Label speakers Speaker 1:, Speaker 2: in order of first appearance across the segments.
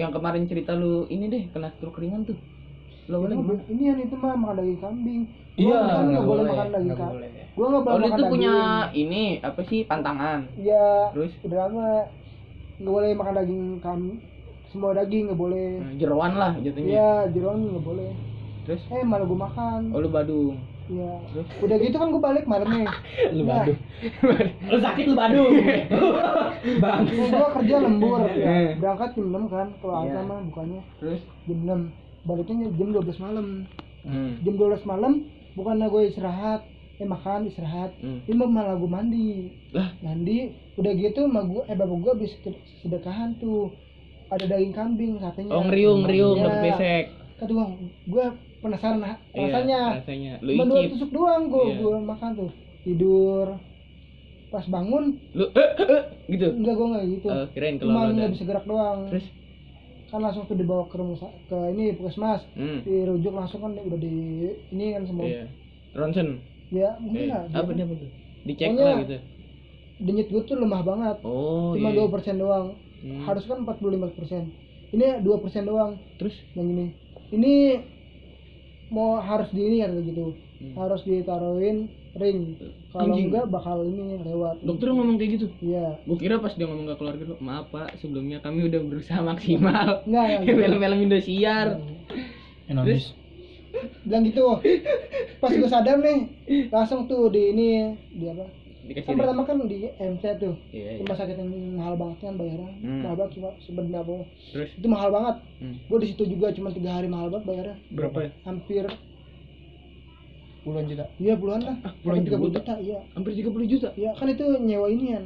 Speaker 1: Yang kemarin cerita lu ini deh kena stroke ringan tuh. Lo boleh
Speaker 2: Ini
Speaker 1: gimana?
Speaker 2: Iya, gua- ini yang itu mah makan daging kambing. Gua
Speaker 3: Iya,
Speaker 2: kan
Speaker 3: nggak
Speaker 2: nggak boleh
Speaker 3: boleh,
Speaker 2: makan daging
Speaker 3: nggak
Speaker 2: kambing.
Speaker 3: boleh.
Speaker 2: Gua nggak
Speaker 1: Oh,
Speaker 2: boleh
Speaker 1: lu
Speaker 2: makan
Speaker 1: tuh punya
Speaker 2: daging.
Speaker 1: ini apa sih pantangan?
Speaker 2: Iya.
Speaker 1: Terus
Speaker 2: Udah lama nggak boleh makan daging kambing. Semua daging nggak boleh.
Speaker 1: eh, jeroan lah jatuhnya.
Speaker 2: Iya, jeroan nggak boleh.
Speaker 1: Terus
Speaker 2: Eh malah gua makan.
Speaker 1: ya? oh lu badung.
Speaker 2: Iya.
Speaker 1: Terus?
Speaker 2: Udah gitu kan gua balik malamnya.
Speaker 3: Lu
Speaker 2: Nah.
Speaker 3: badung. lu sakit lu badung. Bang.
Speaker 2: Terus gua kerja lembur. Ya,
Speaker 1: Iya.
Speaker 2: Berangkat jam 6 kan kalau
Speaker 1: Iya.
Speaker 2: Alta mah bukannya
Speaker 1: Terus
Speaker 2: jam 6. Baliknya jam 12 malam.
Speaker 1: hmm.
Speaker 2: Jam 12 malam bukannya gue istirahat, eh makan istirahat.
Speaker 1: Hmm.
Speaker 2: Ini malah gue mandi.
Speaker 1: Lah?
Speaker 2: Mandi udah gitu mah gue eh bapak gue habis sed- sedekahan tuh. Ada daging kambing katanya.
Speaker 1: Oh, ngeriung, ngeriung,
Speaker 2: Iya.
Speaker 1: dapet besek.
Speaker 2: Kata gue, gue penasaran ha-
Speaker 1: Iya,
Speaker 2: rasanya.
Speaker 1: rasanya. Lu
Speaker 2: Cuma dua
Speaker 1: incip.
Speaker 2: tusuk doang gue
Speaker 1: Iya.
Speaker 2: gue makan tuh. Tidur. Pas bangun
Speaker 1: Lu eh, eh, eh, gitu.
Speaker 2: enggak gue enggak gitu.
Speaker 1: Oh, kirain kalau
Speaker 2: Cuma
Speaker 1: lu ada.
Speaker 2: nggak bisa gerak doang.
Speaker 1: Terus
Speaker 2: Kan langsung tuh dibawa ke rumah sa- ke ini puskesmas.
Speaker 1: hmm.
Speaker 2: Dirujuk langsung kan udah di ini kan semua.
Speaker 1: Iya. Ronsen.
Speaker 2: Ya
Speaker 1: Eh,
Speaker 2: mungkin lah.
Speaker 1: apa dia
Speaker 2: dia-
Speaker 1: apa tuh? Dicek
Speaker 2: Pokoknya-
Speaker 1: lah gitu.
Speaker 2: Denyut gue tuh lemah banget.
Speaker 1: Oh,
Speaker 2: Cuma
Speaker 1: iya.
Speaker 2: dua persen doang.
Speaker 1: Hmm.
Speaker 2: harus kan 45 persen ini 2 persen doang
Speaker 1: terus
Speaker 2: yang ini ini mau harus di ini kata gitu
Speaker 1: Hmm.
Speaker 2: harus ditaruhin ring kalau
Speaker 1: Anjing.
Speaker 2: enggak bakal ini lewat
Speaker 1: dokter ngomong kayak gitu.
Speaker 2: iya
Speaker 1: Gue kira pas dia ngomong ke keluarga lu, maaf pak, sebelumnya kami udah berusaha maksimal.
Speaker 2: enggak enggak gitu.
Speaker 1: Film-film Indosiar.
Speaker 3: Terus
Speaker 2: bilang gitu pas gue sadar nih langsung tuh di ini di apa
Speaker 1: Dikasih
Speaker 2: kan
Speaker 1: deh.
Speaker 2: pertama kan di MC tuh
Speaker 1: Iya, iya.
Speaker 2: rumah sakit yang mahal banget kan bayarnya
Speaker 1: Hmm.
Speaker 2: mahal banget cuma sebenarnya apa.
Speaker 1: Terus
Speaker 2: itu mahal banget
Speaker 1: hmm.
Speaker 2: gue di situ juga cuma tiga hari mahal banget bayarnya
Speaker 3: berapa ya?
Speaker 2: hampir
Speaker 3: Puluhan juta.
Speaker 2: Iya puluhan lah.
Speaker 1: Ah, puluhan
Speaker 2: Hampir 30
Speaker 1: juta.
Speaker 2: juta. Iya.
Speaker 1: hampir 30 juta.
Speaker 2: Iya kan itu nyewa ini
Speaker 1: Uh,
Speaker 2: kan.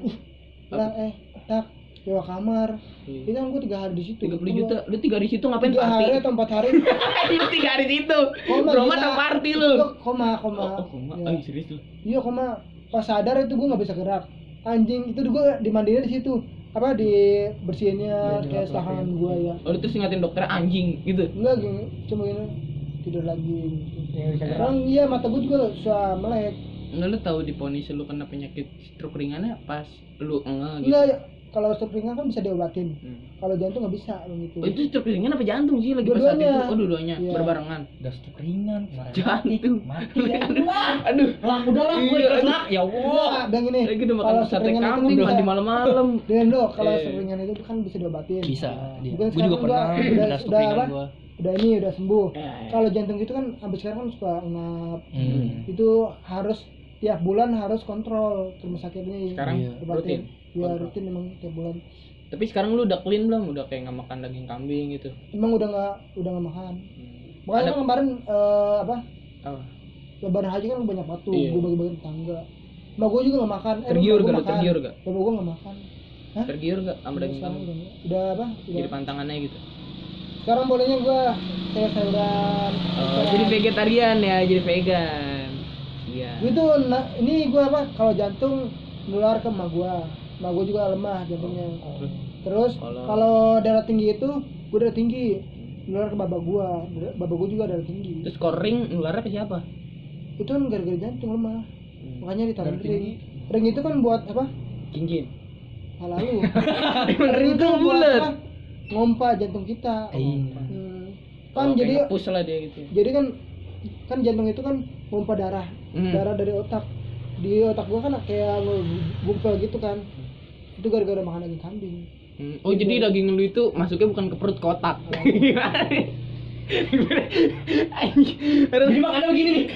Speaker 2: Lah eh tak nyewa kamar.
Speaker 1: Iya.
Speaker 2: Itu kan gua tiga hari di situ.
Speaker 1: 30 juta. Lu 3 hari situ ngapain
Speaker 2: Tiga hari
Speaker 1: party?
Speaker 2: atau empat hari.
Speaker 1: Lu 3 hari situ.
Speaker 2: Koma,
Speaker 1: Roma
Speaker 2: gila.
Speaker 1: tak party
Speaker 2: Gua
Speaker 1: lu.
Speaker 2: koma koma.
Speaker 1: Oh, oh, koma.
Speaker 2: Iya.
Speaker 1: Ay, serius lu.
Speaker 2: Iya koma. Pas sadar itu gua nggak bisa gerak. Anjing itu gua dimandinya di situ. Apa di bersihinnya
Speaker 3: Iya,
Speaker 2: kayak
Speaker 3: dilap-lapin.
Speaker 2: tangan gua ya.
Speaker 1: Oh, lu terus ngatain dokter anjing gitu.
Speaker 2: Enggak gini, cuma gini tidur lagi. gitu.
Speaker 3: Yang bisa gerak.
Speaker 2: Orang iya mata gua juga suka melek.
Speaker 1: Enggak lu tahu diponis lu kena penyakit stroke ringannya pas lu enggak gitu.
Speaker 2: Enggak kalau stroke ringan kan bisa diobatin.
Speaker 1: Hmm.
Speaker 2: Kalau jantung nggak bisa gitu.
Speaker 1: Oh, itu stroke ringan apa jantung sih lagi pas saat
Speaker 2: Dua-duanya.
Speaker 1: itu? Oh, dua-duanya
Speaker 2: Iya.
Speaker 1: berbarengan.
Speaker 3: Udah stuk ringan.
Speaker 1: Jantung.
Speaker 3: Mati.
Speaker 1: Aduh.
Speaker 3: Lah udah lah gue
Speaker 1: Iya,
Speaker 3: ikhlas lah. Ya Allah.
Speaker 2: Nah, bilang gini,
Speaker 1: Lagi udah makan
Speaker 2: kalau
Speaker 1: sate
Speaker 2: seringan itu
Speaker 1: kambing
Speaker 2: bisa,
Speaker 1: udah di malam-malam.
Speaker 2: dengan dok, kalau
Speaker 1: Iya.
Speaker 2: seringan itu kan bisa diobatin.
Speaker 3: Bisa. dia.
Speaker 2: Mungkin
Speaker 3: Gue juga
Speaker 2: sekarang
Speaker 3: pernah
Speaker 2: gua udah-
Speaker 3: kena stuk
Speaker 2: udah
Speaker 3: ringan
Speaker 2: apa?
Speaker 3: gue.
Speaker 2: Udah ini udah sembuh.
Speaker 1: Iya, iya.
Speaker 2: Kalau jantung itu kan sampai sekarang kan suka ngap.
Speaker 3: Hmm.
Speaker 2: Itu harus tiap bulan harus kontrol ke rumah sakit ini.
Speaker 1: Sekarang
Speaker 3: Iya.
Speaker 1: rutin.
Speaker 2: Ya
Speaker 1: Kontrol.
Speaker 2: rutin emang tiap bulan.
Speaker 1: Tapi sekarang lu udah clean belum? Udah kayak nggak makan daging kambing gitu.
Speaker 2: Emang udah nggak udah nggak makan.
Speaker 1: Hmm.
Speaker 2: Makanya
Speaker 1: Ada
Speaker 2: kan kemarin eh, apa?
Speaker 1: apa?
Speaker 2: Lebaran haji kan banyak waktu,
Speaker 1: Iya.
Speaker 2: gue bagi-bagi tetangga. Mbak gue juga nggak makan. Eh,
Speaker 1: Tergiur
Speaker 2: mbak
Speaker 1: gak?
Speaker 2: gua
Speaker 1: lu?
Speaker 2: makan.
Speaker 1: Tergiur gak?
Speaker 2: Bapak gue nggak makan. Hah? Iya,
Speaker 1: Tergiur gak sama daging
Speaker 2: Sekarang
Speaker 1: kambing?
Speaker 2: udah nggak. Udah apa? Udah.
Speaker 1: Jadi pantangannya gitu.
Speaker 2: Sekarang bolehnya gue kayak sayuran.
Speaker 1: Oh,
Speaker 2: ikan.
Speaker 1: jadi vegetarian ya, jadi vegan. Iya.
Speaker 2: Gua tuh na- gitu, nah, ini gua apa kalau jantung nular ke emak gua emak gua juga lemah jantungnya terus
Speaker 1: Oh. Kalau-
Speaker 2: kalau darah tinggi itu gua darah tinggi nular ke bapak gua Dar- bapak gua juga darah tinggi
Speaker 1: Terus koring nularnya ke siapa?
Speaker 2: itu kan gara-gara jantung lemah makanya ditaruh
Speaker 3: Darah
Speaker 2: ring ring itu kan buat apa
Speaker 1: Cincin.
Speaker 2: lalu
Speaker 1: Ring tuh bulat.
Speaker 2: apa? ngompa jantung kita
Speaker 3: Iya.
Speaker 2: Hmm.
Speaker 1: Oh,
Speaker 2: kan
Speaker 1: kayak
Speaker 2: jadi
Speaker 1: nge-push lah dia gitu.
Speaker 2: jadi kan kan jantung itu kan pompa darah
Speaker 1: Hmm.
Speaker 2: darah dari otak di otak gua kan kayak gumpel gitu kan itu gara-gara makan daging kambing
Speaker 1: Hmm. Oh jadi daging lu itu masuknya bukan ke perut ke otak. Gimana nih? Anjing. Terus
Speaker 3: Jadi makannya begini nih.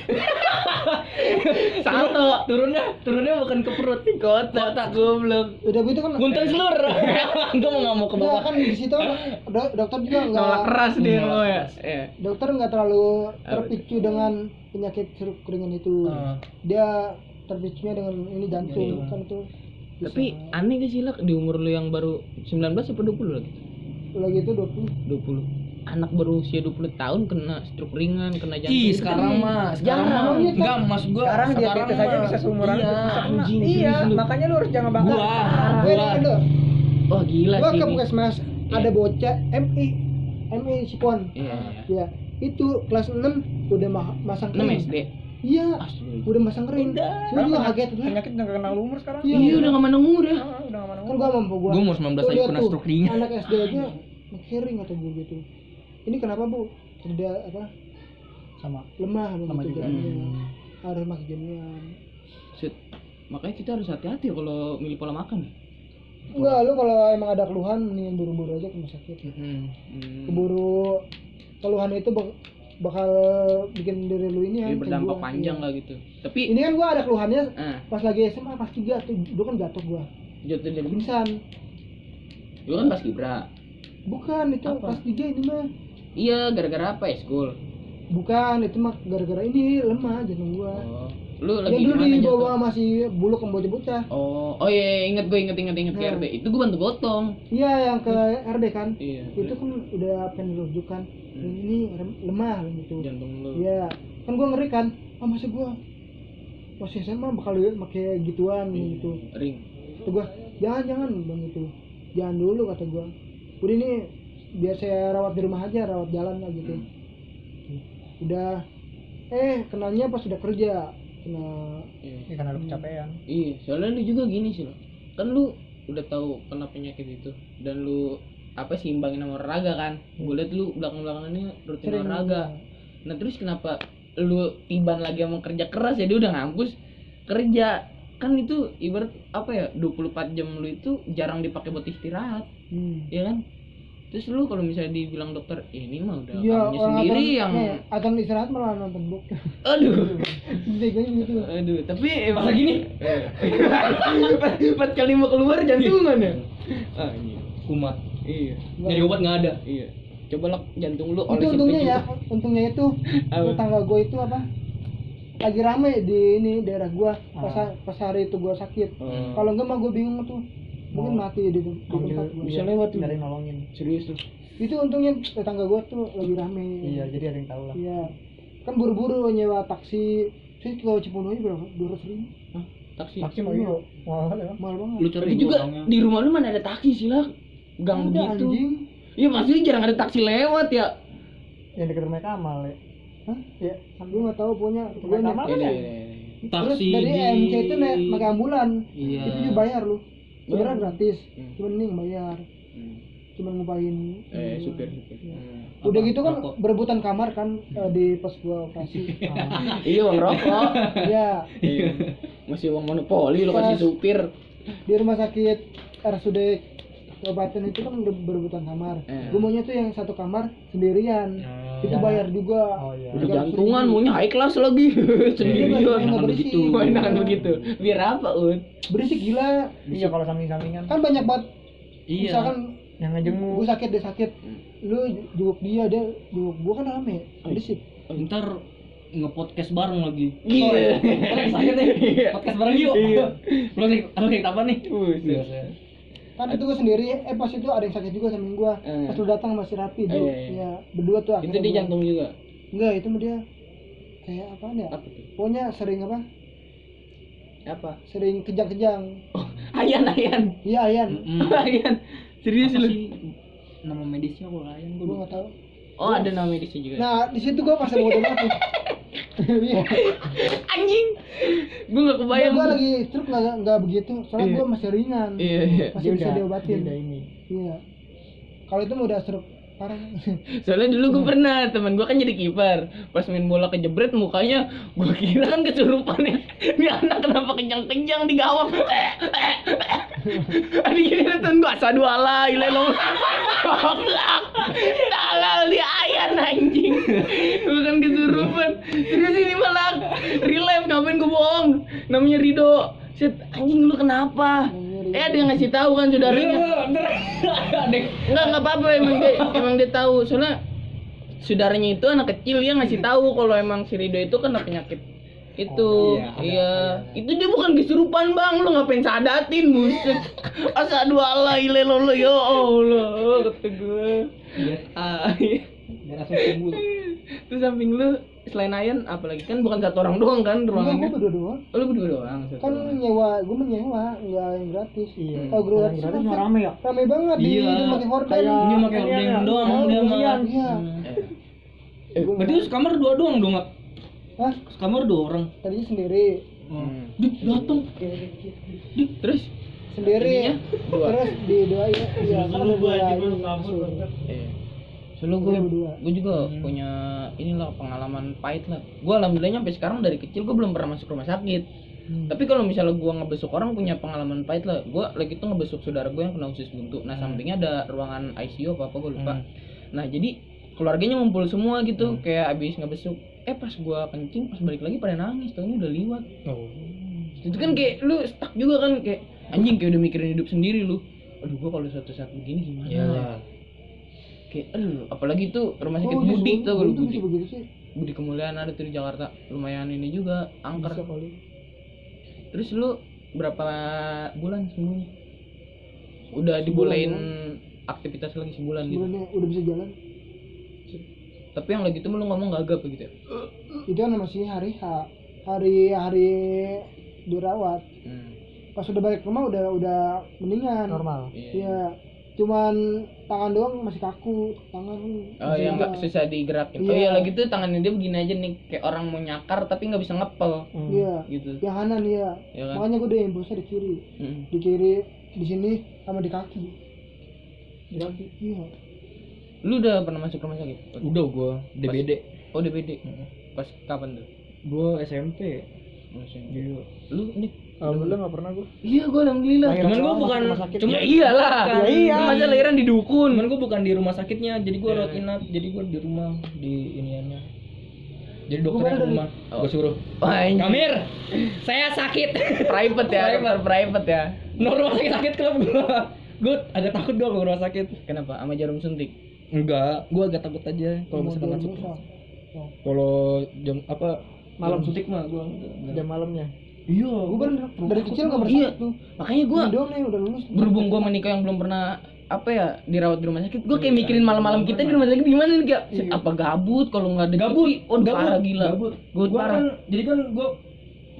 Speaker 1: salto
Speaker 3: Turunnya, turunnya bukan ke perut.
Speaker 1: ke otak, goblok.
Speaker 2: udah gitu kan
Speaker 3: Gunting selur. gue mau ngamuk ke
Speaker 2: Nggak,
Speaker 3: bawah.
Speaker 2: kan di situ do- dokter juga
Speaker 1: Nolak
Speaker 2: nggak
Speaker 1: keras dia
Speaker 3: Nolak
Speaker 1: lo ya.
Speaker 3: keras.
Speaker 1: Iya.
Speaker 2: dokter nggak terlalu terpicu dengan penyakit stroke keringan itu
Speaker 3: Eh,
Speaker 2: dia terpicunya dengan ini jantung
Speaker 3: Jantung.
Speaker 2: kan itu Bisa.
Speaker 1: Tapi aneh gak sih lah di umur lu yang baru 19 apa 20 lagi?
Speaker 2: udah gitu 20
Speaker 1: 20 anak baru usia 20 tahun kena stroke ringan, kena jantung.
Speaker 4: Iya,
Speaker 3: Ih,
Speaker 1: Itu kan
Speaker 3: sekarang mah, sekarang mah
Speaker 2: Jangan.
Speaker 3: enggak mas gua.
Speaker 4: sekarang diabetes
Speaker 3: mah-
Speaker 4: aja bisa seumuran
Speaker 3: Iya,
Speaker 1: anjing,
Speaker 4: iya
Speaker 1: serius lu.
Speaker 4: makanya lu harus jangan
Speaker 3: gua,
Speaker 4: bangga
Speaker 2: gue
Speaker 3: gua.
Speaker 1: Wah, gila
Speaker 2: gua
Speaker 1: sih.
Speaker 2: ke
Speaker 1: ini.
Speaker 2: puskesmas ada bocah MI MI Sipon
Speaker 1: Iya.
Speaker 2: ya itu kelas 6 udah ma- masang
Speaker 1: 6
Speaker 2: kering
Speaker 1: SD.
Speaker 2: iya
Speaker 1: Astagfirullah.
Speaker 2: udah masang kering gue juga kaget lah
Speaker 4: penyakit udah kenal umur sekarang
Speaker 2: Iya.
Speaker 1: Iya, udah gak mana umur ya.
Speaker 4: Ah, udah nggak mana
Speaker 2: kan
Speaker 4: umur
Speaker 2: gua mampu gua
Speaker 3: Gua umur 19
Speaker 2: Tuh,
Speaker 3: aja
Speaker 2: lihat
Speaker 3: pernah
Speaker 2: tuh,
Speaker 3: stroke ringan.
Speaker 2: anak SD aja mengkering atau gue gitu ini kenapa bu tidak apa
Speaker 4: sama
Speaker 2: lemah
Speaker 4: Lemah
Speaker 2: begitu
Speaker 4: juga.
Speaker 2: jamnya.
Speaker 1: Hmm.
Speaker 2: harus makan jaminan
Speaker 1: Set. Makanya kita harus hati-hati kalau milih pola makan ya.
Speaker 2: enggak lu kalau emang ada keluhan mendingan buru-buru aja ke rumah sakit
Speaker 1: Hmm.
Speaker 2: keburu keluhan itu bak- bakal bikin diri lu
Speaker 1: Jadi
Speaker 2: ini hancur,
Speaker 1: berdampak
Speaker 2: gua.
Speaker 1: panjang
Speaker 2: Iya.
Speaker 1: lah gitu. Tapi
Speaker 2: ini kan gua ada keluhannya
Speaker 1: ah,
Speaker 2: pas lagi SMA pas tiga tuh dulu kan gatot gua
Speaker 1: jatuh dari
Speaker 2: pingsan
Speaker 1: lu kan pas kibra.
Speaker 2: bukan itu
Speaker 1: Apa?
Speaker 2: pas tiga ini mah
Speaker 1: Iya, gara-gara apa ya, school?
Speaker 2: bukan itu mah gara-gara ini lemah jantung gua
Speaker 1: Oh. Lu lagi
Speaker 2: yang
Speaker 1: di
Speaker 2: dulu
Speaker 1: mana
Speaker 2: dibawa
Speaker 1: jatuh?
Speaker 2: masih buluk sama bocah-bocah
Speaker 1: Oh, oh iya, iya, inget gue inget inget inget ke
Speaker 2: Nah.
Speaker 1: RB. Itu gue bantu gotong.
Speaker 2: iya yang ke RD kan
Speaker 1: Iya.
Speaker 2: itu kan udah pengen dirujukan
Speaker 1: Hmm.
Speaker 2: ini rem- lemah gitu
Speaker 1: jantung lu.
Speaker 2: Iya, kan gue ngeri kan. Ah masa gue masih SMA bakal pakai gituan
Speaker 1: Iya,
Speaker 2: gitu.
Speaker 1: Ring.
Speaker 2: Kata gue, jangan jangan bang itu, jangan dulu kata gue. Udah ini biar saya rawat di rumah aja, rawat jalan lah gitu.
Speaker 1: Hmm.
Speaker 2: Udah, eh kenalnya pas udah kerja kena Hmm.
Speaker 1: Iya.
Speaker 4: ya karena lu kecapean
Speaker 1: Iya, soalnya lu juga gini sih lo. Kan lu udah tahu kena penyakit itu dan lu apa sih imbangin sama olahraga kan? Gue liat lu belakang-belakangan ini rutin
Speaker 2: sering
Speaker 1: olahraga. Nah terus kenapa lu tiban lagi sama kerja keras ya dia udah ngampus kerja kan itu ibarat apa ya 24 jam lu itu jarang dipakai buat istirahat
Speaker 2: Hmm.
Speaker 1: ya kan terus lu kalau misalnya dibilang dokter ini mah udah
Speaker 2: Iya,
Speaker 1: kamunya
Speaker 2: orang
Speaker 1: sendiri
Speaker 2: atau-
Speaker 1: yang
Speaker 2: nih, atau istirahat malah nonton book.
Speaker 1: aduh
Speaker 2: Begini gitu.
Speaker 1: aduh tapi emang lagi nih empat kali mau keluar jantungan ya ah, iya
Speaker 3: kumat
Speaker 1: iya
Speaker 3: nyari obat nggak ada
Speaker 1: iya coba lah jantung lu
Speaker 2: itu
Speaker 1: oleh
Speaker 2: untungnya ya untungnya itu
Speaker 1: Apa?
Speaker 2: tetangga gue itu apa lagi rame di ini daerah gue pas,
Speaker 4: Ah.
Speaker 2: pas hari itu gue sakit
Speaker 1: Hmm.
Speaker 2: kalau enggak mah gue bingung tuh mungkin
Speaker 4: Mau
Speaker 2: mati di, di tempat
Speaker 4: Ambil-
Speaker 2: gue
Speaker 1: bisa lewat lu.
Speaker 4: dari nolongin
Speaker 1: serius tuh
Speaker 2: itu untungnya tetangga gue tuh lagi rame
Speaker 4: iya jadi ada yang tahu lah
Speaker 2: Iya. kan buru-buru nyewa taksi terus kalau Cipundo aja berapa dua ratus ribu
Speaker 1: Hah, taksi
Speaker 4: taksi mau yuk mau apa ya
Speaker 2: mahal banget
Speaker 1: lu cari
Speaker 3: Tapi
Speaker 1: juga
Speaker 3: orangnya.
Speaker 1: di rumah lu mana ada taksi sih lah gang
Speaker 2: Ada,
Speaker 4: gitu.
Speaker 1: begitu
Speaker 2: anjing
Speaker 1: iya maksudnya jarang ada taksi lewat ya
Speaker 4: yang deket rumah Kamal ya
Speaker 2: Hah?
Speaker 4: ya
Speaker 2: gue nggak tahu punya
Speaker 4: rumah Kamal
Speaker 1: Iya,
Speaker 4: kan ya
Speaker 2: terus
Speaker 3: Taksi
Speaker 2: dari
Speaker 3: di-
Speaker 2: MC itu naik pakai ambulan
Speaker 1: Iya.
Speaker 2: itu juga bayar lu sebenarnya
Speaker 1: Bayar.
Speaker 2: gratis
Speaker 1: Hmm.
Speaker 2: cuman ini yang bayar cuman ngupain
Speaker 1: eh supir Hmm. supir
Speaker 2: udah gitu kan
Speaker 3: Rokok.
Speaker 2: berebutan kamar kan eh, di pas gua operasi
Speaker 4: Ah,
Speaker 1: iya uang rokok
Speaker 2: ya
Speaker 1: Iya. masih uang monopoli lu kasih
Speaker 2: Pas.
Speaker 1: supir
Speaker 2: di rumah sakit RSUD Kabupaten itu kan udah berebutan kamar
Speaker 1: Eh.
Speaker 2: gua maunya tuh yang satu kamar sendirian
Speaker 1: Ah,
Speaker 2: itu
Speaker 4: Iya.
Speaker 2: bayar juga
Speaker 4: oh iya
Speaker 1: udah
Speaker 2: Tiga ratus
Speaker 1: jantungan
Speaker 2: ribu.
Speaker 1: maunya high class lagi sendirian
Speaker 2: Enakan
Speaker 1: enakan
Speaker 2: berisik.
Speaker 1: begitu
Speaker 2: Iya.
Speaker 1: enakan begitu biar apa un
Speaker 2: berisik gila
Speaker 4: iya kalau samping sampingan
Speaker 2: kan banyak banget
Speaker 3: iya
Speaker 2: misalkan
Speaker 4: yang ngejenguk
Speaker 2: gua sakit dia sakit lu jenguk dia dia jenguk gua kan rame berisik
Speaker 3: ntar ngepodcast bareng lagi
Speaker 1: Iya.
Speaker 3: Podcast aja deh. podcast bareng yuk
Speaker 1: Iya.
Speaker 3: lu kayak lu kayak apa nih
Speaker 1: Buset.
Speaker 2: kan itu gua sendiri eh pas itu ada yang sakit juga sama gua
Speaker 1: Eh.
Speaker 2: pas lu datang masih
Speaker 1: Eh,
Speaker 2: rapi tuh
Speaker 1: iya, iya.
Speaker 2: ya berdua tuh
Speaker 1: itu
Speaker 2: akhirnya
Speaker 1: di
Speaker 2: gua-
Speaker 1: jantung juga
Speaker 2: enggak itu mah dia kayak apa ya
Speaker 1: apa tuh
Speaker 2: pokoknya sering apa
Speaker 1: apa Oh,
Speaker 2: sering kejang-kejang
Speaker 1: ayan ayan
Speaker 2: iya Ayan
Speaker 1: ayan serius
Speaker 3: Apa
Speaker 1: lu
Speaker 3: sih nama medisnya kalau layan
Speaker 2: gue
Speaker 3: gue
Speaker 2: nggak tahu
Speaker 1: oh ada nama medisnya juga
Speaker 2: nah di situ gue pas bodoh banget tuh iya
Speaker 1: anjing gue gak kebayang
Speaker 2: gue lagi truk nggak nggak begitu soalnya
Speaker 1: Iya.
Speaker 2: gue masih ringan
Speaker 1: iya iya
Speaker 2: masih bisa diobatin
Speaker 4: udah ini
Speaker 2: iya kalau itu mah udah truk parah
Speaker 1: Soalnya dulu gue pernah teman gue kan jadi kiper, pas main bola kejebret mukanya gue kira kan kesurupan ya. Ini anak kenapa kencang-kencang di gawang? Eh, Ada kira temen gue asal dua lah, ilai lo. Goblok. Talal di ayan anjing. Bukan kesurupan. Terus ini malah relive ngapain gue bohong. Namanya Rido. Set, anjing lu kenapa? Eh ada yang ngasih tahu kan saudaranya. Enggak, enggak apa-apa emang dia, emang dia tahu. Soalnya saudaranya itu anak kecil dia ngasih tahu kalau emang si Rido itu kena penyakit itu.
Speaker 4: Oh,
Speaker 1: iya,
Speaker 4: iya, ada-
Speaker 1: Itu dia bukan kesurupan, Bang. Lu ngapain sadatin, buset. Asa dua la ile lo lo ya Allah, kata gue. Ah, iya.
Speaker 4: biar langsung sembuh
Speaker 1: Terus samping lu selain Ayan apalagi kan bukan satu orang doang kan
Speaker 2: enggak gue
Speaker 1: ruangannya.
Speaker 2: berdua doang
Speaker 1: Oh, lu berdua doang satu
Speaker 2: kan
Speaker 1: ruangan.
Speaker 2: nyewa gue menyewa nggak yang gratis
Speaker 4: iya
Speaker 2: kalau
Speaker 4: Kalau
Speaker 2: gratis,
Speaker 4: yang gratis
Speaker 2: mah
Speaker 4: mah rame ya
Speaker 2: rame banget di
Speaker 3: Iya.
Speaker 2: di pakai horden
Speaker 4: Kayak-
Speaker 3: ini pakai
Speaker 4: Ini
Speaker 3: ordeng
Speaker 4: ada.
Speaker 3: doang
Speaker 2: Oh,
Speaker 3: dia mah
Speaker 2: iya, iya.
Speaker 3: Hmm.
Speaker 1: Eh,
Speaker 3: Eh, berarti lu sekamar dua doang dong Mak?
Speaker 2: Hah?
Speaker 3: sekamar dua orang
Speaker 2: tadinya sendiri
Speaker 1: Hmm.
Speaker 3: Dik, dateng
Speaker 1: Terus
Speaker 2: sendiri
Speaker 1: Ininya? Dua.
Speaker 2: terus di dua iya iya kan
Speaker 3: Silakan lu
Speaker 2: dua
Speaker 3: aja,
Speaker 2: ini, Oh,
Speaker 3: Bang, kabur,
Speaker 2: suruh.
Speaker 3: Bang.
Speaker 1: Iya. Soalnya gue,
Speaker 2: Kita berdua.
Speaker 1: gue juga punya inilah pengalaman pahit lah. Gue alhamdulillah sampai sekarang dari kecil gue belum pernah masuk rumah sakit.
Speaker 2: Hmm.
Speaker 1: Tapi kalau misalnya gue ngebesuk orang punya pengalaman pahit lah. Gue lagi tuh ngebesuk saudara gue yang kena usus buntu. Nah sampingnya ada ruangan ICU apa apa gue lupa.
Speaker 4: Hmm.
Speaker 1: Nah jadi keluarganya ngumpul semua gitu kayak abis ngebesuk. Eh pas gue kencing pas balik lagi pada nangis. Tahunya udah liwat.
Speaker 4: Oh.
Speaker 1: Itu kan kayak lu stuck juga kan kayak anjing kayak udah mikirin hidup sendiri lu. Aduh gue kalau suatu saat begini gimana?
Speaker 3: iya.
Speaker 1: ya? Kayak aduh apalagi tuh rumah sakit
Speaker 2: Oh, dia
Speaker 1: Budi
Speaker 2: sebelum-
Speaker 1: tuh kalau iya,
Speaker 2: sebelum
Speaker 1: Budi.
Speaker 2: bisa begitu sih
Speaker 1: Budi kemuliaan ada tuh di Jakarta. Lumayan ini juga
Speaker 2: bisa
Speaker 1: angker.
Speaker 2: kali
Speaker 1: Terus lu berapa bulan sembunyi? Udah dibolehin aktivitas lagi sebulan gitu.
Speaker 2: sebenarnya udah bisa jalan
Speaker 1: Tapi yang lagi tuh lu ngomong gagap gitu ya.
Speaker 2: itu kan masih hari H hari hari dirawat
Speaker 1: Hmm.
Speaker 2: pas udah balik rumah udah udah mendingan
Speaker 4: Normal.
Speaker 1: Iya.
Speaker 2: iya cuman tangan doang masih kaku tangan
Speaker 1: Oh
Speaker 2: masih
Speaker 1: yang nggak
Speaker 2: kaku.
Speaker 1: susah digerakin. Oh
Speaker 2: Iya.
Speaker 1: iya lagi tuh tangannya dia begini aja nih kayak orang mau nyakar tapi nggak bisa ngepel
Speaker 2: iya
Speaker 1: gitu.
Speaker 2: yang kanan iya
Speaker 1: Ya kan?
Speaker 2: makanya gue udah impulsnya di kiri
Speaker 1: Mm.
Speaker 2: di kiri di sini sama di kaki di kaki iya
Speaker 1: Lu udah pernah masuk rumah sakit?
Speaker 4: Udah gua DBD.
Speaker 1: Oh DBD. Pas kapan tuh?
Speaker 4: Gua SMP
Speaker 1: Maksudnya.
Speaker 4: dulu.
Speaker 1: Lu nih
Speaker 4: Alhamdulillah enggak pernah gua.
Speaker 1: Iya, gue alhamdulillah.
Speaker 4: Lahiran
Speaker 1: Cuman gue
Speaker 4: doang,
Speaker 1: bukan
Speaker 4: masuk rumah sakit.
Speaker 1: Cuman ya iyalah.
Speaker 4: Ya iya.
Speaker 1: Lu masa lahiran di dukun.
Speaker 4: Cuman gua bukan di rumah sakitnya, jadi gua
Speaker 1: Iya.
Speaker 4: rawat inap, jadi gua di rumah di iniannya. Jadi
Speaker 2: Gua
Speaker 4: dokternya
Speaker 2: baru
Speaker 4: ke
Speaker 2: dari-
Speaker 4: rumah, gua suruh.
Speaker 1: Anjing.
Speaker 4: Kamir, saya sakit.
Speaker 1: private ya, private, private ya.
Speaker 4: no rumah sakit sakit kenapa gua? Gua agak takut gua ke rumah sakit.
Speaker 1: Kenapa? Sama jarum suntik.
Speaker 4: Enggak, gua agak takut aja kalau
Speaker 2: Mau jalan
Speaker 4: misalkan masuk.
Speaker 2: dosa. Oh.
Speaker 4: Kalau jam apa
Speaker 3: Malam.
Speaker 4: jam suntik mah gua enggak.
Speaker 3: Jam malamnya.
Speaker 4: Iya,
Speaker 2: gue kan dari kecil nggak pernah
Speaker 1: Iya.
Speaker 2: tuh
Speaker 1: Makanya gue
Speaker 2: Ini gitu. doang nih udah lulus
Speaker 1: berhubung gue menikah yang belum pernah apa ya dirawat di rumah sakit gue
Speaker 4: Iya.
Speaker 1: kayak mikirin malam-malam kita di rumah sakit gimana nih gak
Speaker 2: Iya.
Speaker 1: apa gabut kalau nggak ada
Speaker 4: Gabut,
Speaker 1: TV? oh
Speaker 4: gabut,
Speaker 1: parah gila
Speaker 4: gabut.
Speaker 1: Gua
Speaker 4: gua
Speaker 1: parah.
Speaker 4: kan jadi kan gua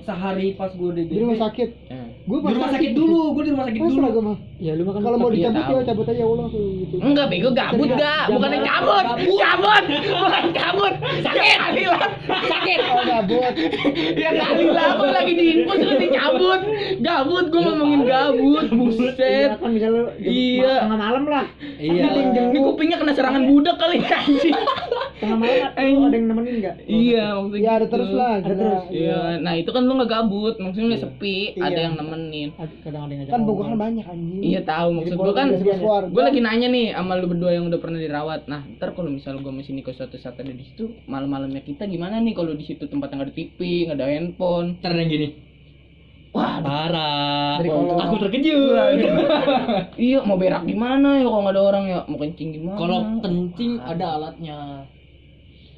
Speaker 4: sehari pas gua di
Speaker 2: di rumah sakit
Speaker 1: Eh.
Speaker 2: gue
Speaker 4: di rumah sakit dulu, gua di rumah sakit
Speaker 2: gitu. Masa
Speaker 4: dulu.
Speaker 2: lah gue mah
Speaker 3: Ya lu makan
Speaker 2: kalau mau
Speaker 1: Iya, tahu.
Speaker 2: dicabut
Speaker 1: Hmm.
Speaker 2: ya cabut aja ulang tuh gitu
Speaker 1: Enggak bego gabut gak, bukan cabut, cabut, bukan cabut, sakit, kali lah, sakit,
Speaker 2: oh gabut
Speaker 1: ya kali lah, aku lagi di info terus dicabut, gabut, gue ngomongin gabut, buset,
Speaker 3: kan misalnya jam-
Speaker 1: Iya.
Speaker 3: ma- tengah malam lah.
Speaker 4: Iya.
Speaker 1: ini kupingnya kena serangan budak kali anjing,
Speaker 3: Tengah malam lu ada yang nemenin enggak?
Speaker 1: iya maksudnya,
Speaker 2: ya ada
Speaker 1: gitu.
Speaker 2: terus lah
Speaker 3: Ada
Speaker 2: gila.
Speaker 3: terus.
Speaker 1: iya, nah itu kan lu nggak gabut, maksudnya nggak sepi,
Speaker 3: Iya.
Speaker 1: ada yang nemenin,
Speaker 3: Kadang ada yang ngajak.
Speaker 2: kan
Speaker 3: ngobrol.
Speaker 2: bogohan banyak anjing
Speaker 1: iya tahu maksud gue kan,
Speaker 2: Biasa-biasa keluarga.
Speaker 1: gue lagi nanya nih sama lu berdua yang udah pernah dirawat nah ntar kalau misalnya gue masih nikah suatu saat ada di situ malam-malamnya kita gimana nih kalau di situ tempat yang ada TV nggak ada handphone
Speaker 4: Ntar ada yang gini.
Speaker 1: wah
Speaker 4: Parah.
Speaker 2: Dari
Speaker 1: Oh.
Speaker 2: kolong.
Speaker 4: Aku terkejut. Gitu,
Speaker 1: iya mau berak gimana ya kalau nggak ada orang ya mau kencing gimana
Speaker 4: Kalau kencing ada alatnya.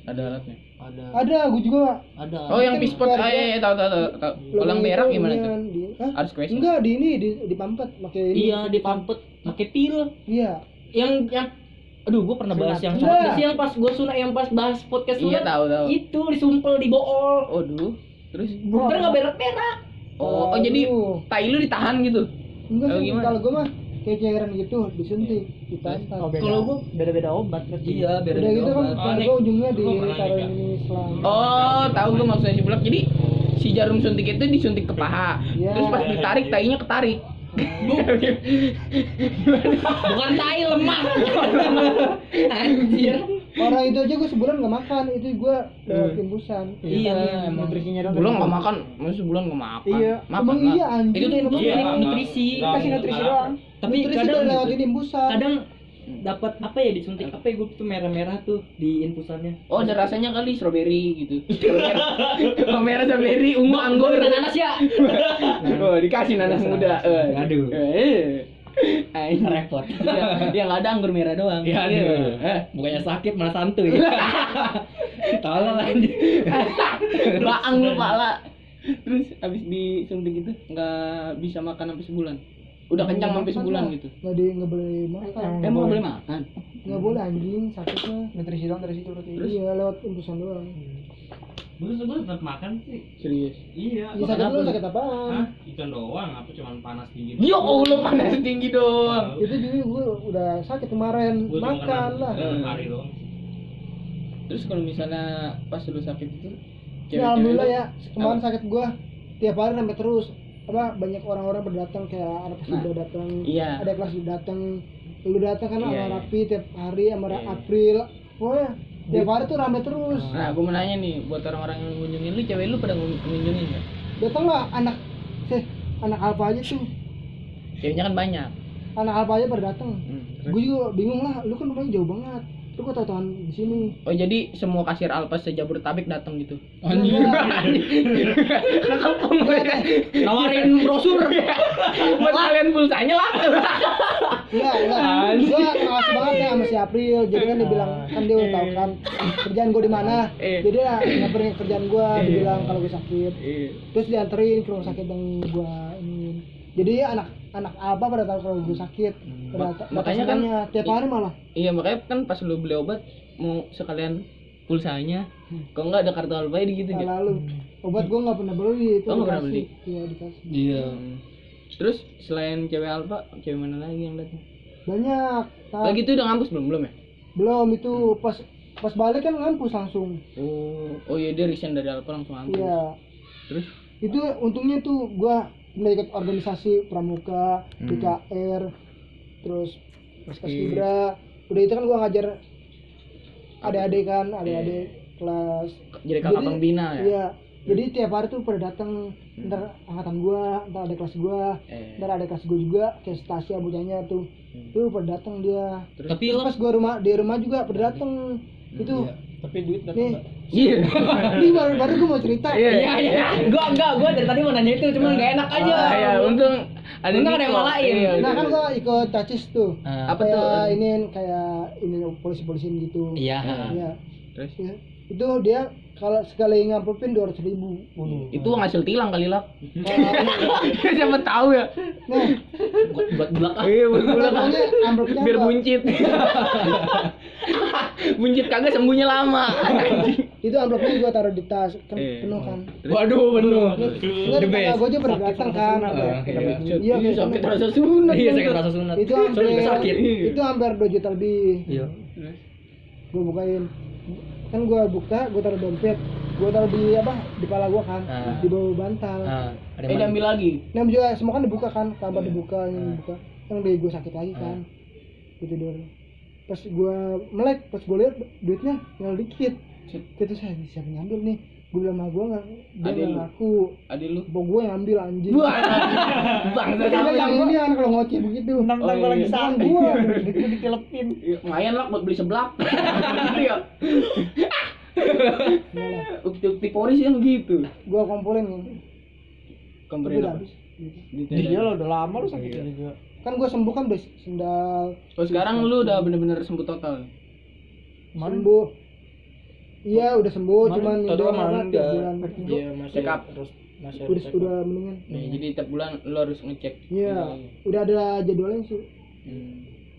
Speaker 1: ada alatnya
Speaker 4: Ada.
Speaker 2: ada gue juga
Speaker 4: Ada.
Speaker 1: oh yang
Speaker 2: Kan
Speaker 1: pispot
Speaker 2: keluarga-
Speaker 1: eh eh, tahu tahu tahu tahu kalau yang
Speaker 2: Lubang
Speaker 1: berak
Speaker 2: itu
Speaker 1: gimana tuh
Speaker 2: inian, di- Hah?
Speaker 1: harus question
Speaker 2: enggak di ini di di pampet pakai ini
Speaker 4: Iya, di pampet pakai pil.
Speaker 2: iya
Speaker 4: Yang yang aduh gua pernah bahas yang
Speaker 2: Sunat.
Speaker 4: sunat. yang pas gua sunat yang pas bahas podcast
Speaker 1: iya
Speaker 4: sunat.
Speaker 1: tahu tahu
Speaker 4: Itu disumpel di bool.
Speaker 1: aduh terus
Speaker 4: Ntar enggak berak-berak.
Speaker 1: oh, oh jadi
Speaker 2: Aduh.
Speaker 1: tai lu ditahan gitu
Speaker 2: enggak
Speaker 1: Kalau
Speaker 2: sih
Speaker 1: gimana?
Speaker 2: kalau gue mah kayak cairan gitu disuntik ditampar
Speaker 3: Oh, beda.
Speaker 4: Kalau gua-
Speaker 3: beda-beda obat berarti.
Speaker 4: Iya, beda
Speaker 2: udah gitu kan kalau
Speaker 1: nih.
Speaker 2: gue ujungnya di
Speaker 3: Gua pernah
Speaker 2: taruh
Speaker 3: nikah.
Speaker 2: ini selang
Speaker 1: oh tahu gue maksudnya si bulat jadi si jarum suntik itu disuntik ke paha
Speaker 2: Iya.
Speaker 1: terus pas ditarik tainya ketarik
Speaker 4: Bukan tai lemak. Anjir.
Speaker 2: orang itu aja gue sebulan nggak makan itu eh, gue lewat imbusan
Speaker 4: Iya, emang.
Speaker 3: Hmm. nutrisinya doang.
Speaker 1: Sebulan nggak makan, maksudnya sebulan nggak makan.
Speaker 2: Iya.
Speaker 1: makan
Speaker 2: Emang iya, anjing.
Speaker 1: Itu tuh
Speaker 4: Itu
Speaker 1: emang
Speaker 4: nutrisi,
Speaker 1: iya.
Speaker 4: nutrisi. Kasih
Speaker 3: Enggak, enggak,
Speaker 4: nutrisi
Speaker 3: enggak.
Speaker 4: doang. Tapi
Speaker 2: Nutrisi
Speaker 4: kadang
Speaker 2: udah lewat
Speaker 4: gitu.
Speaker 2: ini imbusan
Speaker 4: kadang dapat apa ya disuntik apa ya gue tuh merah-merah tuh di infusannya
Speaker 1: Oh, ada rasanya kali strawberry gitu. Kalau merah strawberry, ungu anggur.
Speaker 4: nanas ya
Speaker 1: Oh, dikasih nanas muda. Eh.
Speaker 4: Aduh.
Speaker 1: Eh. Anjing.
Speaker 4: repot
Speaker 1: Iya, yang nggak ada anggur merah doang.
Speaker 4: ya aduh
Speaker 1: Eh.
Speaker 4: bukannya sakit malah santuy tolong lanjut
Speaker 1: Baang lu pala. Terus abis disuntik gitu nggak bisa makan sampai sebulan. Udah kencang sampai sebulan gitu.
Speaker 2: nggak di nggak boleh makan
Speaker 1: Eh, mau boleh makan.
Speaker 2: nggak boleh anjing sakitnya
Speaker 3: Nutrisi Hmm. doang dari situ berarti.
Speaker 2: iya lewat imbusan doang
Speaker 5: Gue sebelum tetap makan sih.
Speaker 1: Serius.
Speaker 5: Iya.
Speaker 2: ya, sakit lu sakit apaan
Speaker 5: Hah? Ikan doang apa cuman panas dingin?
Speaker 1: Ya
Speaker 4: Iya,
Speaker 1: Allah, panas tinggi doang.
Speaker 2: itu juga gue udah sakit kemarin
Speaker 5: Gua cuma kena
Speaker 2: makan lah
Speaker 5: dalam Hari doang.
Speaker 1: Terus kalau misalnya pas lu sakit itu
Speaker 2: ya,
Speaker 1: cewek-cewek
Speaker 2: alhamdulillah
Speaker 1: lu-
Speaker 2: ya kemarin sakit gue tiap hari sampai terus apa banyak orang-orang berdatang kayak anak kelas
Speaker 1: Nah,
Speaker 2: udah datang
Speaker 1: iya.
Speaker 2: ada kelas udah datang lu datang kan sama
Speaker 1: Iya, iya.
Speaker 2: rapi tiap hari sama Ra-
Speaker 1: Iya.
Speaker 2: April pokoknya tiap hari tuh rame terus
Speaker 1: Nah, gue mau nanya nih buat orang-orang yang ngunjungin lu, cewek lu pada ngun- ngunjungin nggak?
Speaker 2: datang lah anak eh anak alfa aja tuh
Speaker 1: Ceweknya kan banyak.
Speaker 2: anak alfa aja pada datang
Speaker 1: Hmm, terus?
Speaker 2: gue juga bingung lah lu kan rumahnya jauh banget lu kok tau di sini
Speaker 1: Oh jadi semua kasir Alpas sejabodetabek datang gitu?
Speaker 2: Anjir.
Speaker 1: Ketepung gue. Nawarin brosur. Buat kalian pulsanya lah.
Speaker 2: Enggak, enggak. Gue kelas banget ya sama si April. Jadi kan dibilang kan dia udah tahu kan kerjaan gue di mana.
Speaker 1: Ah. Eh.
Speaker 2: Jadi ya nyamperin ke kerjaan gue, dibilang kalau gue sakit.
Speaker 1: Iya.
Speaker 2: Terus dianterin ke rumah sakit yang gue ini. Jadi anak anak apa pada tahu kalau gue sakit. Pada
Speaker 1: Hmm. Mak-
Speaker 2: ta-
Speaker 1: makanya kan
Speaker 2: datang semuanya. tiap
Speaker 1: i-
Speaker 2: hari malah.
Speaker 1: Iya makanya kan pas lu beli obat mau sekalian pulsanya. Kok nggak ada kartu Alpanya di gitu
Speaker 2: Nah,
Speaker 1: ya?
Speaker 2: lalu obat gue nggak pernah beli itu
Speaker 1: Oh, nggak pernah
Speaker 2: dikasih. Iya dikasih.
Speaker 3: Iya.
Speaker 1: Terus selain cewek Alpa, cewek mana lagi yang datang?
Speaker 2: Banyak. Tar.
Speaker 1: Lagi itu udah ngampus belum belum ya?
Speaker 2: Belum itu pas pas balik kan ngampus langsung.
Speaker 1: Oh, oh iya dia resign dari Alpa langsung ngampus.
Speaker 2: Iya.
Speaker 1: Terus
Speaker 2: itu untungnya tuh gua mulai ikut organisasi pramuka BKR terus Paskibra udah itu kan gua ngajar adik-adik kan adik-adik kelas
Speaker 1: jadi kakak pembina ya?
Speaker 2: iya jadi tiap hari tuh pada datang ntar angkatan gua ntar ada kelas gua
Speaker 1: Eh.
Speaker 2: ntar ada kelas gua juga kayak Stasia bocahnya tuh tuh pada datang dia terus
Speaker 3: Tapi lo
Speaker 2: pas gua rumah di rumah juga pada datang itu
Speaker 3: tapi duit dapat
Speaker 2: nih
Speaker 3: nggak?
Speaker 1: Iya.
Speaker 2: ini baru baru gua mau cerita
Speaker 1: Iya.
Speaker 4: Ya, Gua enggak, gua dari tadi mau nanya itu cuma gak enak aja.
Speaker 1: Ah,
Speaker 6: iya,
Speaker 1: ya, untung ada
Speaker 4: Untung ada yang
Speaker 1: Niko.
Speaker 4: malain.
Speaker 1: Iya,
Speaker 2: nah
Speaker 1: iya.
Speaker 2: kan gua ikut tacis tuh
Speaker 3: Ah,
Speaker 1: apa tuh?
Speaker 2: kayak ini kayak ini polisi polisiin gitu
Speaker 3: Iya.
Speaker 2: Iya.
Speaker 1: Terus
Speaker 2: Iya. itu dia kalau sekali ngampulin dua ratus ribu
Speaker 1: itu uang hasil tilang kali lah. Siapa tahu ya.
Speaker 2: nah
Speaker 3: Buat buat belak ah.
Speaker 1: Iya, bener lah.
Speaker 2: pokoknya amplopnya
Speaker 1: Biar
Speaker 2: apa?
Speaker 1: buncit. buncit kagak sembuhnya lama.
Speaker 2: itu amplopnya gua taruh di tas kan
Speaker 1: Iya.
Speaker 2: penuh kan
Speaker 3: Waduh, benar.
Speaker 2: Enggak, tetangga gua aja pernah datang kan
Speaker 3: Iya.
Speaker 2: Iya,
Speaker 1: Iya,
Speaker 2: kayak
Speaker 1: sakit
Speaker 2: gitu.
Speaker 1: rasa sunat.
Speaker 3: Iya,
Speaker 1: Bang.
Speaker 3: sakit rasa sunat.
Speaker 2: itu
Speaker 3: Soalnya
Speaker 2: hampir
Speaker 3: juga sakit.
Speaker 2: itu hampir dua juta lebih
Speaker 3: Iya.
Speaker 2: gua bukain kan gua buka gua taruh dompet gua taruh di apa di kepala gua kan
Speaker 3: Ah.
Speaker 2: di bawah bantal
Speaker 3: Ah, ada
Speaker 1: Eh, diambil lagi.
Speaker 2: Nah juga semua kan dibuka kan, kamar dibuka, yang dibuka. Yang dari gue sakit lagi kan. Gue tidur. Pas gue melek, pas gue lihat duitnya tinggal dikit. Itu saya siapa yang ngambil nih? Gue bilang sama gue nggak, dia
Speaker 1: Ada
Speaker 2: nggak
Speaker 1: lu.
Speaker 2: ngaku.
Speaker 1: Adik lu.
Speaker 2: Pokok gue yang ambil anjing.
Speaker 1: Wah. Bang,
Speaker 2: Dia bilang
Speaker 1: yang
Speaker 2: ini kan kalau ngoceh begitu.
Speaker 1: Tentang gua lagi
Speaker 2: Kan gue
Speaker 4: ditelepin.
Speaker 1: lumayan lah buat beli seblak. gitu ya. Ukti-ukti Polri sih kan gitu.
Speaker 2: gue kumpulin kan. Tapi
Speaker 1: Komplain
Speaker 2: udah
Speaker 1: apa? Iya,
Speaker 2: habis. Gitu.
Speaker 1: Detail.
Speaker 4: udah lama lu sakit juga.
Speaker 2: Kan gue sembuh kan udah sendal,
Speaker 1: Oh sekarang lu udah bener-bener sembuh total.
Speaker 2: sembuh. Iya udah sembuh, cuman
Speaker 4: Tadi
Speaker 2: doang
Speaker 4: kemarin
Speaker 2: banget tiap bulan.
Speaker 4: Iya, masih
Speaker 1: Check up.
Speaker 4: terus masih
Speaker 2: Udah, udah mendingan.
Speaker 1: Nih, Nah, jadi tiap bulan lu harus ngecek. Iya.
Speaker 2: Iya, udah ada jadwalnya sih.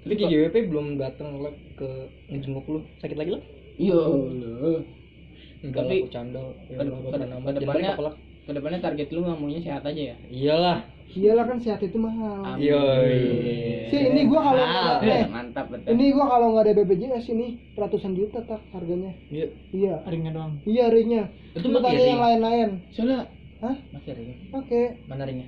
Speaker 4: Tapi gitu. di JWP belum datang lab ke ngejenguk lu. Sakit lagi lu?
Speaker 1: Iya. Allah.
Speaker 4: Enggak
Speaker 1: Tapi-
Speaker 4: lah, bercanda. Ya,
Speaker 1: Ke-
Speaker 4: nggak
Speaker 1: ke-
Speaker 4: bakal nambah.
Speaker 1: ke
Speaker 4: Jangan
Speaker 1: depannya-
Speaker 4: kolak.
Speaker 1: Kedepannya target lu nggak maunya sehat aja ya.
Speaker 3: Iya
Speaker 4: Iyalah.
Speaker 2: Iyalah kan sehat itu mahal.
Speaker 1: Amin.
Speaker 4: Yoi.
Speaker 2: Sih ini gua kalau
Speaker 1: Ah,
Speaker 2: nggak ada, eh,
Speaker 1: mantap betul.
Speaker 2: ini gua kalau nggak ada BPJS ini ratusan juta tak harganya.
Speaker 4: Iya.
Speaker 2: Iya.
Speaker 4: Ringnya doang.
Speaker 2: Iya ringnya.
Speaker 3: Itu
Speaker 2: Lu
Speaker 3: pakai
Speaker 2: pakai
Speaker 3: ring.
Speaker 2: yang lain-lain.
Speaker 1: Soalnya
Speaker 2: Hah?
Speaker 3: Masih ada.
Speaker 2: Pakai.
Speaker 3: Mana ringnya?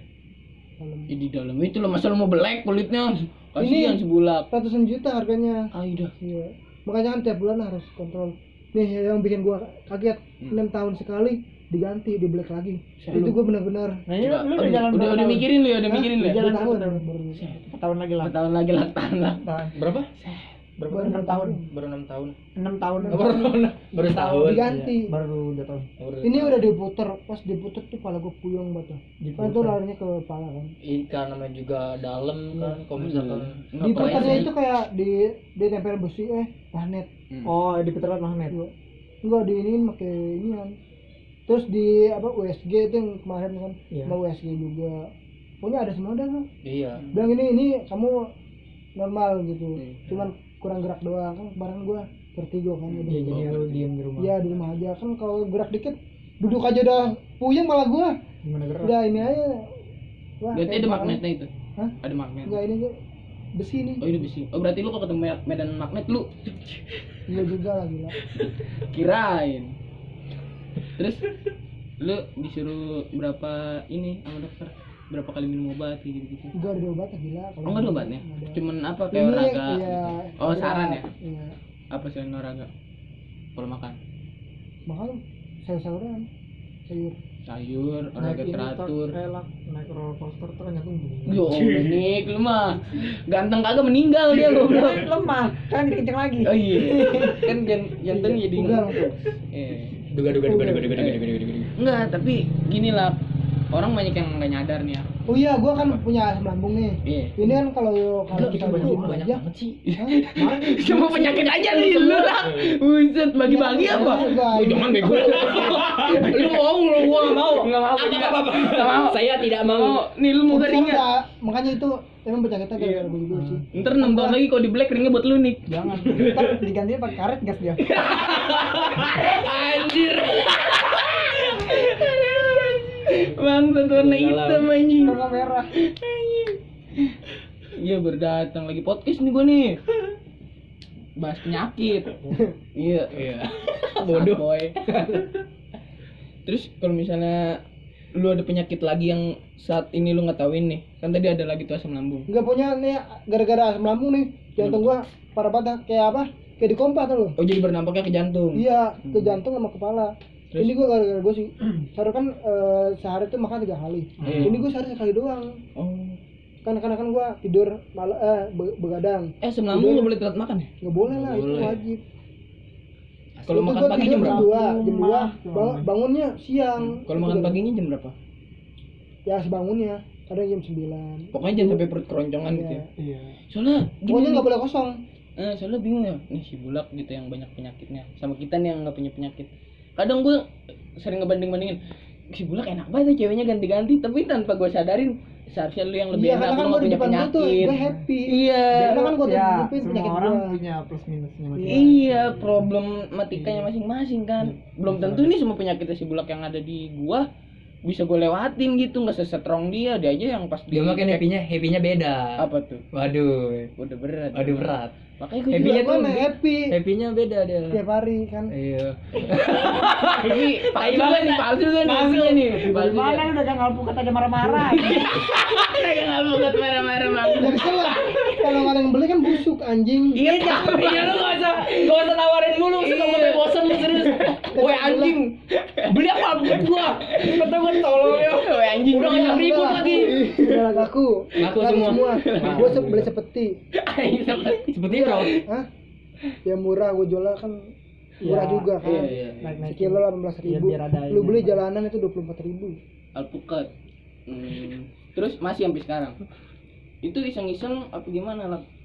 Speaker 1: ih, di dalam itu lo masa lo mau belek kulitnya. Kasihan
Speaker 2: Ini-
Speaker 1: sebulak.
Speaker 2: Ratusan juta harganya.
Speaker 1: Ah, udah.
Speaker 2: Iya. Makanya kan tiap bulan harus kontrol. Nih yang bikin gua kaget, enam tahun sekali diganti, dibelek lagi. Itu gua benar-benar
Speaker 4: Nah,
Speaker 1: Coba, aduh, udah, udah mikirin lu ya, udah mikirin lu ya.
Speaker 2: Dua tahun baru.
Speaker 4: tahun lagi
Speaker 1: Berapa tahun lagi lah tahan lah.
Speaker 3: Berapa?
Speaker 4: Berapa
Speaker 2: Baru enam
Speaker 4: enam tahun?
Speaker 2: tahun.
Speaker 3: Baru 6 tahun.
Speaker 4: Enam tahun.
Speaker 3: Baru baru tahun.
Speaker 2: Diganti.
Speaker 4: Baru dua tahun.
Speaker 2: Ini udah diputer, pas diputer tuh kepala gua puyeng banget. Kan tuh larinya ke kepala kan.
Speaker 3: Ikan namanya juga dalam kan kalau misalkan
Speaker 2: di puternya itu kayak di di tempel besi eh magnet Iya.
Speaker 4: Oh, di peternak magnet.
Speaker 2: Gua- enggak di ini pakai ini kan terus di apa USG itu yang kemarin kan
Speaker 4: Iya.
Speaker 2: mau USG juga pokoknya ada semua dah kan
Speaker 3: Iya.
Speaker 2: bilang ini ini kamu normal gitu cuman kurang gerak doang kan kemarin gua vertigo kan
Speaker 4: Iya, jadi lu
Speaker 3: gitu.
Speaker 4: diem di rumah.
Speaker 2: ya di rumah aja kan kalau gerak dikit duduk aja udah puyeng malah gua
Speaker 4: Gimana gerak?
Speaker 2: udah ini aja Wah,
Speaker 1: Berarti ada
Speaker 2: kayak
Speaker 1: magnetnya itu.
Speaker 2: Hah?
Speaker 1: Ada magnet.
Speaker 2: enggak ini aja. besi nih
Speaker 1: Oh, ini besi. Oh, berarti lu kok ketemu med- medan magnet lu
Speaker 2: enggak Iya juga lah gila
Speaker 1: kirain. Terus lu disuruh berapa ini sama dokter? berapa kali minum obat kayak gitu gitu
Speaker 2: Gua ada obatnya gila.
Speaker 1: oh nggak ada obatnya
Speaker 2: Nggak ada.
Speaker 1: cuman apa
Speaker 2: Ini,
Speaker 1: kayak olahraga
Speaker 2: iya,
Speaker 1: oh saran ya
Speaker 2: Iya.
Speaker 1: apa sih olahraga kalau makan
Speaker 2: Mahal sayur-sayuran. Sayur.
Speaker 1: sayur olahraga
Speaker 2: Nah,
Speaker 6: Naik ini,
Speaker 1: teratur
Speaker 6: tak-
Speaker 1: Iya.
Speaker 6: eh, lah, naik roller coaster tuh kan jantung bunyi.
Speaker 1: Yo, Nick, lu mah ganteng kagak meninggal dia lu.
Speaker 6: lemah kan dikenceng lagi
Speaker 1: Oh iya, kan jan- jantung jadi
Speaker 2: Bugar.
Speaker 1: Eh.
Speaker 3: Duga duga duga duga duga duga duga duga duga.
Speaker 4: Eh.
Speaker 1: Enggak, tapi gini lah. Orang banyak yang nggak nyadar nih ya.
Speaker 2: Oh iya, gua kan punya asam lambung nih.
Speaker 1: Iya.
Speaker 2: Ini kan kalau kalau kita
Speaker 4: Lu
Speaker 2: minum
Speaker 4: banyak
Speaker 2: aja,
Speaker 4: banget sih.
Speaker 2: Hah?
Speaker 1: Cuma penyakit aja nih lu lah. Buset, bagi-bagi
Speaker 2: Iya,
Speaker 1: apa?
Speaker 2: iya,
Speaker 3: Lu
Speaker 2: iya.
Speaker 3: jangan bego.
Speaker 1: Lu mau, lu gua nggak mau. Enggak mau.
Speaker 3: Apa apa apa.
Speaker 1: Nggak mau.
Speaker 4: Saya tidak
Speaker 1: Nggak
Speaker 4: mau.
Speaker 1: mau. Nih lu mau
Speaker 2: Tapi
Speaker 1: keringat.
Speaker 2: enggak, makanya itu emang penyakitnya gara-gara gua juga sih.
Speaker 1: Ntar 6 tahun lagi kalau di black ringnya buat lu nih.
Speaker 6: jangan ntar diganti pakai karet gas dia
Speaker 1: Iya. Anjir. Bangsat warna hitam anjing.
Speaker 6: warna merah
Speaker 1: Iya berdatang lagi podcast nih gua nih. Bahas penyakit. Iya.
Speaker 3: Iya.
Speaker 1: bodoh terus kalau misalnya lu ada penyakit lagi yang saat ini lu nggak tahuin nih kan tadi ada lagi tuh asam lambung
Speaker 2: Enggak punya nih gara-gara asam lambung nih.
Speaker 1: Iya.
Speaker 2: Jantung gua parah banget kayak apa? Kayak dikompak tuh lu.
Speaker 1: oh jadi berdampaknya ke jantung
Speaker 2: Iya, ke jantung sama kepala.
Speaker 1: Terus?
Speaker 2: Ini gua gara-gara gua sih. Seharusnya kan eh, sehari tuh makan tiga kali.
Speaker 1: Iya.
Speaker 2: Ini gua sehari sekali doang.
Speaker 1: oh
Speaker 2: Kan karena kan gua tidur malam eh be- begadang.
Speaker 1: eh asam lambung nggak boleh telat makan ya
Speaker 2: Nggak boleh lah, itu
Speaker 1: Boleh.
Speaker 2: wajib.
Speaker 1: kalau
Speaker 2: Itu
Speaker 1: makan
Speaker 2: gua
Speaker 1: pagi
Speaker 2: tidur
Speaker 1: jam
Speaker 2: jam
Speaker 1: berapa
Speaker 2: dua, jam dua,
Speaker 6: Rumah.
Speaker 2: ba- bangunnya siang.
Speaker 1: kalau makan
Speaker 2: Itu
Speaker 1: paginya jam berapa
Speaker 2: Ya sebangunnya, kadang jam 9.
Speaker 1: pokoknya jangan sampai perut keroncongan gitu ya
Speaker 2: Iya.
Speaker 6: iya
Speaker 1: soalnya gini
Speaker 2: Pokoknya
Speaker 1: nih,
Speaker 2: nggak boleh kosong.
Speaker 1: eh, soalnya bingung ya nih si bulak gitu yang banyak penyakitnya sama kita nih yang nggak punya penyakit kadang gue sering ngebanding bandingin si bulak enak banget ya ceweknya ganti-ganti tapi tanpa gue sadarin seharusnya lu yang lebih
Speaker 2: Iya,
Speaker 1: enak
Speaker 2: karena
Speaker 1: lu
Speaker 2: kan
Speaker 1: nggak
Speaker 2: gue di
Speaker 1: punya
Speaker 2: depan lu tuh,
Speaker 1: penyakit
Speaker 2: gue happy.
Speaker 1: iya
Speaker 2: Karena kan gue
Speaker 6: ya
Speaker 2: tutupin
Speaker 6: semua
Speaker 2: penyakit
Speaker 6: orang
Speaker 2: gue.
Speaker 6: punya plus minusnya masing-masing.
Speaker 1: iya problematikanya masing-masing kan belum
Speaker 2: Iya.
Speaker 1: tentu nih semua penyakitnya si bulak yang ada di gua bisa gue lewatin gitu nggak sesetrong dia dia aja yang pas
Speaker 3: Dia mah kan
Speaker 1: dicek.
Speaker 3: happy-nya happy-nya beda.
Speaker 1: apa tuh
Speaker 3: Waduh.
Speaker 1: udah berat
Speaker 3: Waduh berat.
Speaker 1: makanya gue
Speaker 3: Happy-nya
Speaker 2: Gue
Speaker 3: tuh
Speaker 2: mah happy
Speaker 3: happy-nya beda dia.
Speaker 2: tiap hari kan.
Speaker 3: Iya.
Speaker 1: tapi palsu juga nih palsu juga nih palsu nih palsu ya.
Speaker 6: Mana
Speaker 1: juga.
Speaker 6: lu udah ngalpukat ada marah-marah
Speaker 1: Kayak nggak mau buat marah-marah bang
Speaker 2: Jadi salah. Kalau nggak ada yang beli kan busuk anjing.
Speaker 1: Iya, tapi ya lu gak usah gak usah nawarin mulu, suka gue sampai bosen lu serius. Woi anjing,
Speaker 3: Iya.
Speaker 1: beli apa buat gua? Kata gua tolong ya. Woi anjing, udah ngajak ribut lagi.
Speaker 2: Udah ngaku.
Speaker 3: Ngaku
Speaker 2: Ngaku
Speaker 3: semua.
Speaker 2: semua.
Speaker 3: Ngaku.
Speaker 2: Gue beli seperti.
Speaker 1: Anjing seperti.
Speaker 3: Seperti itu.
Speaker 2: Hah? Ya murah gue jualnya kan murah
Speaker 6: Ya,
Speaker 2: juga kan.
Speaker 1: Iya. iya, iya.
Speaker 6: naik naik
Speaker 2: Sekilo delapan belas ribu.
Speaker 6: biar ada
Speaker 2: Lu
Speaker 6: ini.
Speaker 2: beli jalanan itu dua puluh empat ribu.
Speaker 1: Alpukat. Hmm. Terus masih sampai sekarang. Itu iseng-iseng apa gimana lah?